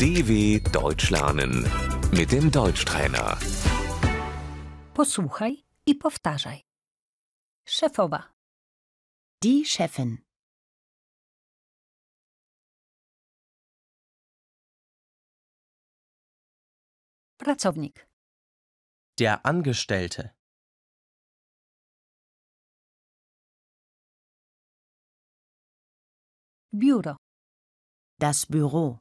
DW Deutsch lernen mit dem Deutschtrainer. Posłuchaj i powtarzaj. Szefowa, Die Chefin. pracownik, Der Angestellte. biuro, Das Büro.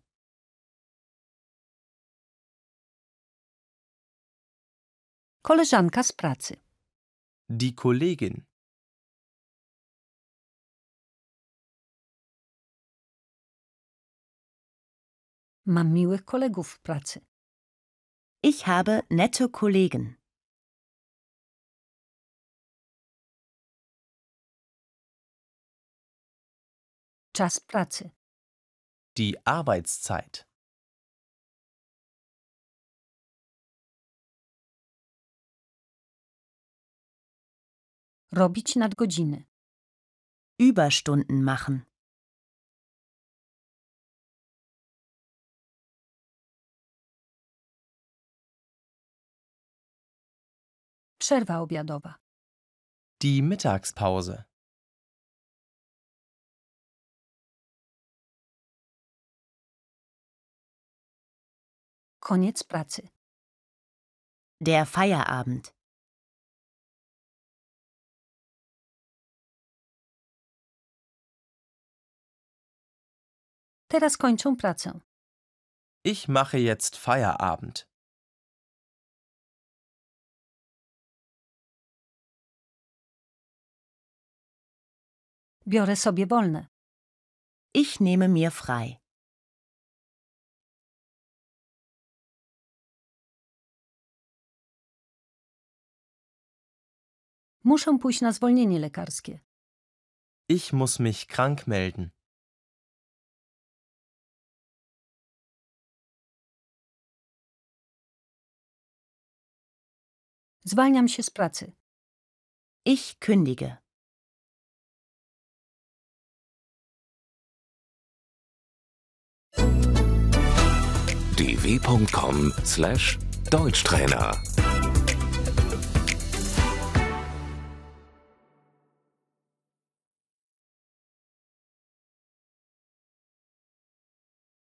koleżanka z pracy, Die Kollegin. mam miłych kolegów w pracy, Ich habe nette Kollegen. czas pracy, Die Arbeitszeit. robić nadgodziny, Überstunden machen. przerwa obiadowa, Die Mittagspause. koniec pracy, Der Feierabend. teraz kończą pracę, Ich mache jetzt Feierabend. biorę sobie wolne, Ich nehme mir frei. muszę pójść na zwolnienie lekarskie, Ich muss mich krank melden. zwalniam się z pracy, Ich kündige. dw.com/deutschtrainer